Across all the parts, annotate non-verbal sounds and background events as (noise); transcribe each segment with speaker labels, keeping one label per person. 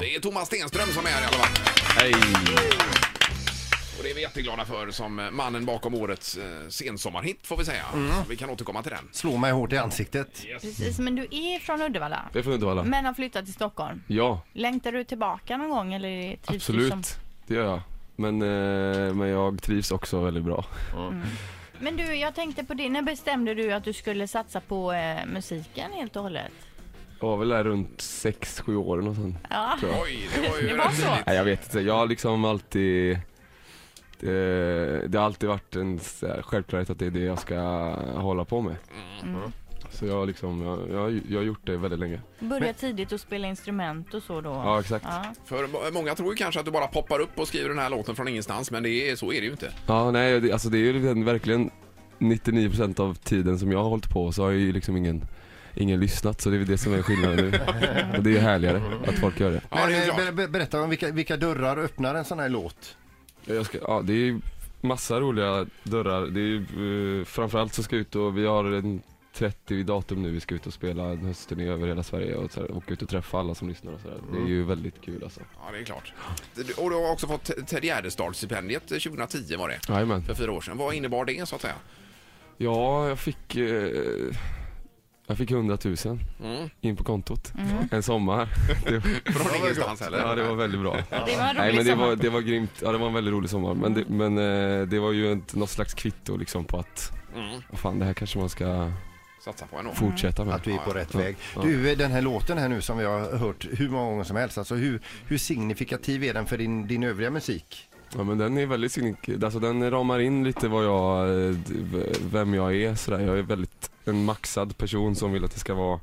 Speaker 1: Det är Thomas Stenström som är här i alla fall.
Speaker 2: Hej!
Speaker 1: Och det är vi jätteglada för som eh, mannen bakom årets eh, sensommarhit får vi säga. Vi kan återkomma till den.
Speaker 3: Slå mig hårt i ansiktet.
Speaker 4: Precis, men du är från Uddevalla.
Speaker 2: Det är från Uddevalla.
Speaker 4: Men har flyttat till Stockholm.
Speaker 2: Ja,
Speaker 4: Längtar du tillbaka någon gång eller är det trivs du som-
Speaker 2: absolut. Det gör jag. Men, eh, men jag trivs också väldigt bra.
Speaker 4: Men du, jag tänkte på det. När bestämde du att du skulle satsa på eh, musiken helt och hållet?
Speaker 2: Jag var väl där runt 6-7 år eller nåt sånt.
Speaker 4: Ja,
Speaker 1: Oj, det var ju
Speaker 4: det var
Speaker 1: rätt
Speaker 4: så.
Speaker 1: tidigt.
Speaker 2: Nej, jag vet inte. Jag har liksom alltid... Det, det har alltid varit en så här självklarhet att det är det jag ska hålla på med. Så jag har liksom, jag, jag, har ju- jag har gjort det väldigt länge.
Speaker 4: Börja tidigt och spela instrument och så då.
Speaker 2: Ja, exakt.
Speaker 4: Ja.
Speaker 1: För må- många tror ju kanske att du bara poppar upp och skriver den här låten från ingenstans, men det är, så är det ju inte.
Speaker 2: Ja, nej, det, alltså det är ju liksom verkligen 99% av tiden som jag har hållit på så har ju liksom ingen, ingen lyssnat. Så det är väl det som är skillnaden nu. Och det är ju härligare att folk gör det.
Speaker 1: Ja,
Speaker 3: Men,
Speaker 1: det är
Speaker 3: eh,
Speaker 1: klart.
Speaker 3: ber, ber, berätta om vilka, vilka dörrar öppnar en sån här låt?
Speaker 2: Ja, Jag ska, ja, det är ju massa roliga dörrar. Det är ju, eh, framförallt så ska jag ut och vi har en 30 datum nu vi ska ut och spela en höstturné över hela Sverige och så här, åka ut och träffa alla som lyssnar och sådär. Det är ju väldigt kul alltså.
Speaker 1: Ja, det är klart. Du- Och du har också fått Te- Ted Gärdestad-stipendiet 2010 var det,
Speaker 2: Jajamän.
Speaker 1: för fyra år sedan. Vad innebar det så att säga?
Speaker 2: Ja, jag fick, eh, jag fick 100 000
Speaker 1: Mm.
Speaker 2: in på kontot
Speaker 4: Mm.
Speaker 2: en sommar. Det,
Speaker 1: Från ingenstans heller?
Speaker 2: (laughs) ja, det var väldigt bra.
Speaker 4: Det var en rolig
Speaker 2: Nej men det
Speaker 4: sommar. Mm.
Speaker 2: var, det var grymt, ja det var en väldigt rolig sommar men det, men, eh, det var ju ett, något slags kvitto liksom på att,
Speaker 1: Mm.
Speaker 2: vad fan det här kanske man ska
Speaker 4: Mm.
Speaker 1: Satsa på ändå.
Speaker 2: fortsätta med.
Speaker 3: Att vi är på rätt
Speaker 2: Ja,
Speaker 3: väg.
Speaker 2: ja.
Speaker 3: Du, eh, den här låten här nu som vi har hört hur många gånger som helst. Alltså hur, hur signifikativ är den för din, din övriga musik?
Speaker 2: Ja men den är väldigt signik- alltså den ramar in lite vad jag, eh, v- vem jag är sådär. Jag är väldigt en maxad person som vill att det ska vara,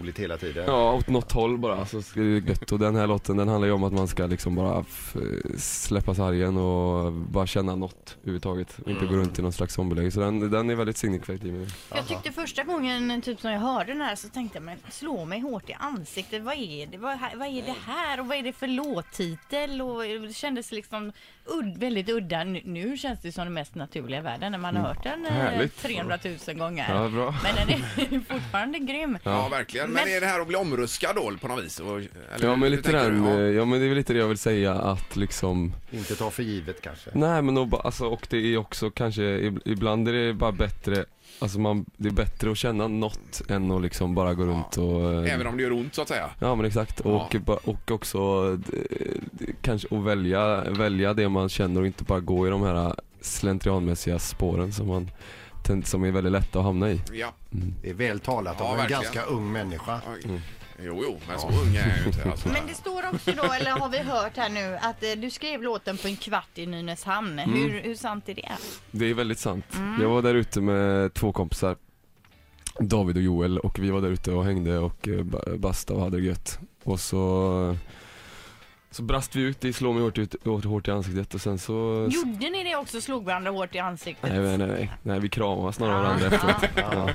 Speaker 3: Roligt hela tiden.
Speaker 2: ja åt något håll bara så ska det gött. Och den här låten den handlar ju om att man ska liksom bara f- släppa sargen och bara känna något överhuvudtaget. Och inte gå runt i någon slags zombieläge. Så den, den är väldigt signifikativ.
Speaker 4: Jag tyckte första gången typ när jag hörde den här så tänkte jag men slå mig hårt i ansiktet. Vad är det? Vad, vad är det här? Och vad är det för låttitel? Och det kändes liksom udd, väldigt udda. Nu, nu känns det som den mest naturliga i världen när man har hört den eh,
Speaker 2: Mm. Härligt.
Speaker 4: 300 000 gånger.
Speaker 2: Ja bra.
Speaker 4: Men den är (laughs) fortfarande grym.
Speaker 1: Ja, verkligen. Men,
Speaker 4: Men-
Speaker 1: är det här att bli omruskad då på något vis? Och- eller
Speaker 2: Ja
Speaker 1: hur
Speaker 2: men lite
Speaker 1: tänker
Speaker 2: den,
Speaker 1: du?
Speaker 2: eh,
Speaker 1: Ja.
Speaker 2: ja men det är väl lite det jag vill säga att liksom
Speaker 3: Inte ta för givet kanske.
Speaker 2: Nej men och, ba- alltså, och det är också kanske, ib- ibland är det bara bättre Alltså man, det är bättre att känna något än att liksom bara gå runt och eh,
Speaker 1: Även om det gör ont så att säga.
Speaker 2: Ja men exakt, och, ba- och också eh, d- kanske att välja, välja det man känner och inte bara gå i de här slentrianmässiga spåren som man tän- som är väldigt lätta att hamna i.
Speaker 1: Ja.
Speaker 3: Det är väl talat
Speaker 1: Ja,
Speaker 3: av en
Speaker 1: verkligen.
Speaker 3: ganska ung människa.
Speaker 1: Oj. Jo, jo, men så ung är jag ju inte. Alltså.
Speaker 4: (laughs) Men det står också då, eller har vi hört här nu, att eh, du skrev låten på en kvart i Nynäshamn.
Speaker 2: Mm.
Speaker 4: Hur, hur sant är det?
Speaker 2: Det är väldigt sant. Jag var där ute med två kompisar, David och Joel, och vi var där ute och hängde och eh, ba- bastade och hade det gött. Och så, så brast vi ut i Slå mig hårt, ut, hårt, hårt i ansiktet och sen så...
Speaker 4: Gjorde ni det också? Slog varandra hårt i ansiktet? Ah.
Speaker 2: Nej, nej, nej, nej, nej, vi kramade snarare
Speaker 4: Ja,
Speaker 2: varandra
Speaker 4: (laughs)
Speaker 2: efteråt. Ja.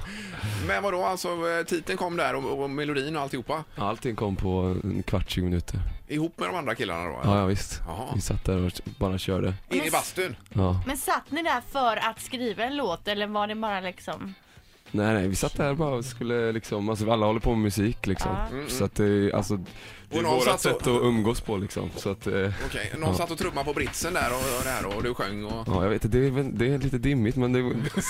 Speaker 1: Men vadå, alltså eh, titeln kom där och, och melodin och alltihopa?
Speaker 2: Allting kom på en kvart, 20 minuter.
Speaker 1: Ihop med de andra killarna då?
Speaker 2: Ja, ja visst.
Speaker 1: Jaha.
Speaker 2: Vi satt där och bara körde.
Speaker 1: In i bastun?
Speaker 2: Ja.
Speaker 4: Men satt ni där för att skriva en låt eller var det bara liksom?
Speaker 2: Nej, nej, vi satt där bara och skulle liksom, alltså alla håller på med musik liksom. Så att det, alltså, det är
Speaker 1: Och någon
Speaker 2: vårat
Speaker 1: satt
Speaker 2: sätt
Speaker 1: och-
Speaker 2: att umgås på liksom. Så att, eh,
Speaker 1: Okej, någon satt och trummade på britsen där och, och det här och du sjöng och...
Speaker 2: Ja, jag vet inte, det är, väl- det är lite dimmigt men det är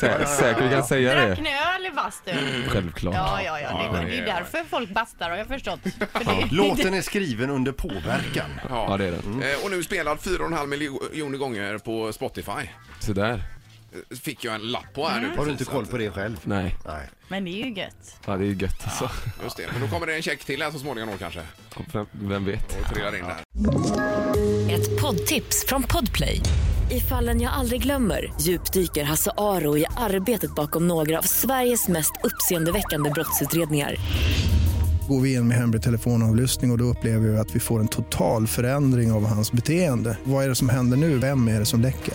Speaker 2: sä säkert vi kan säga
Speaker 4: Drack
Speaker 2: det.
Speaker 4: ni öl i bastun?
Speaker 2: Självklart.
Speaker 4: Ja, ja, Mm. ja. Det,
Speaker 1: Ja,
Speaker 4: det är ju
Speaker 1: ja, ja.
Speaker 4: därför folk bastar har jag förstått. För det,
Speaker 3: Låten är skriven under påverkan.
Speaker 2: Ja, det Mm. är den.
Speaker 1: Eh, Och nu spelad 4,5 miljoner gånger på Spotify. Eh,
Speaker 2: Så där.
Speaker 1: Fick jag en lapp på här nu.
Speaker 3: Har du inte
Speaker 1: precis,
Speaker 3: koll på det själv?
Speaker 2: Nej,
Speaker 3: Nej.
Speaker 4: Men det är ju gött.
Speaker 2: ja, det är ju gött alltså.
Speaker 1: att- Just det, men då kommer det en check till här så småningom då kanske.
Speaker 2: Vem, vem vet?
Speaker 1: Och trillar in där.
Speaker 5: Ett poddtips från Podplay. I fallen jag aldrig glömmer djupdyker Hasse Aro i arbetet bakom några av Sveriges mest uppseendeväckande brottsutredningar.
Speaker 6: Går vi in med hemlig telefonavlyssning och, och då upplever vi att vi får en total förändring av hans beteende. Vad är det som händer nu? Vem är det som läcker?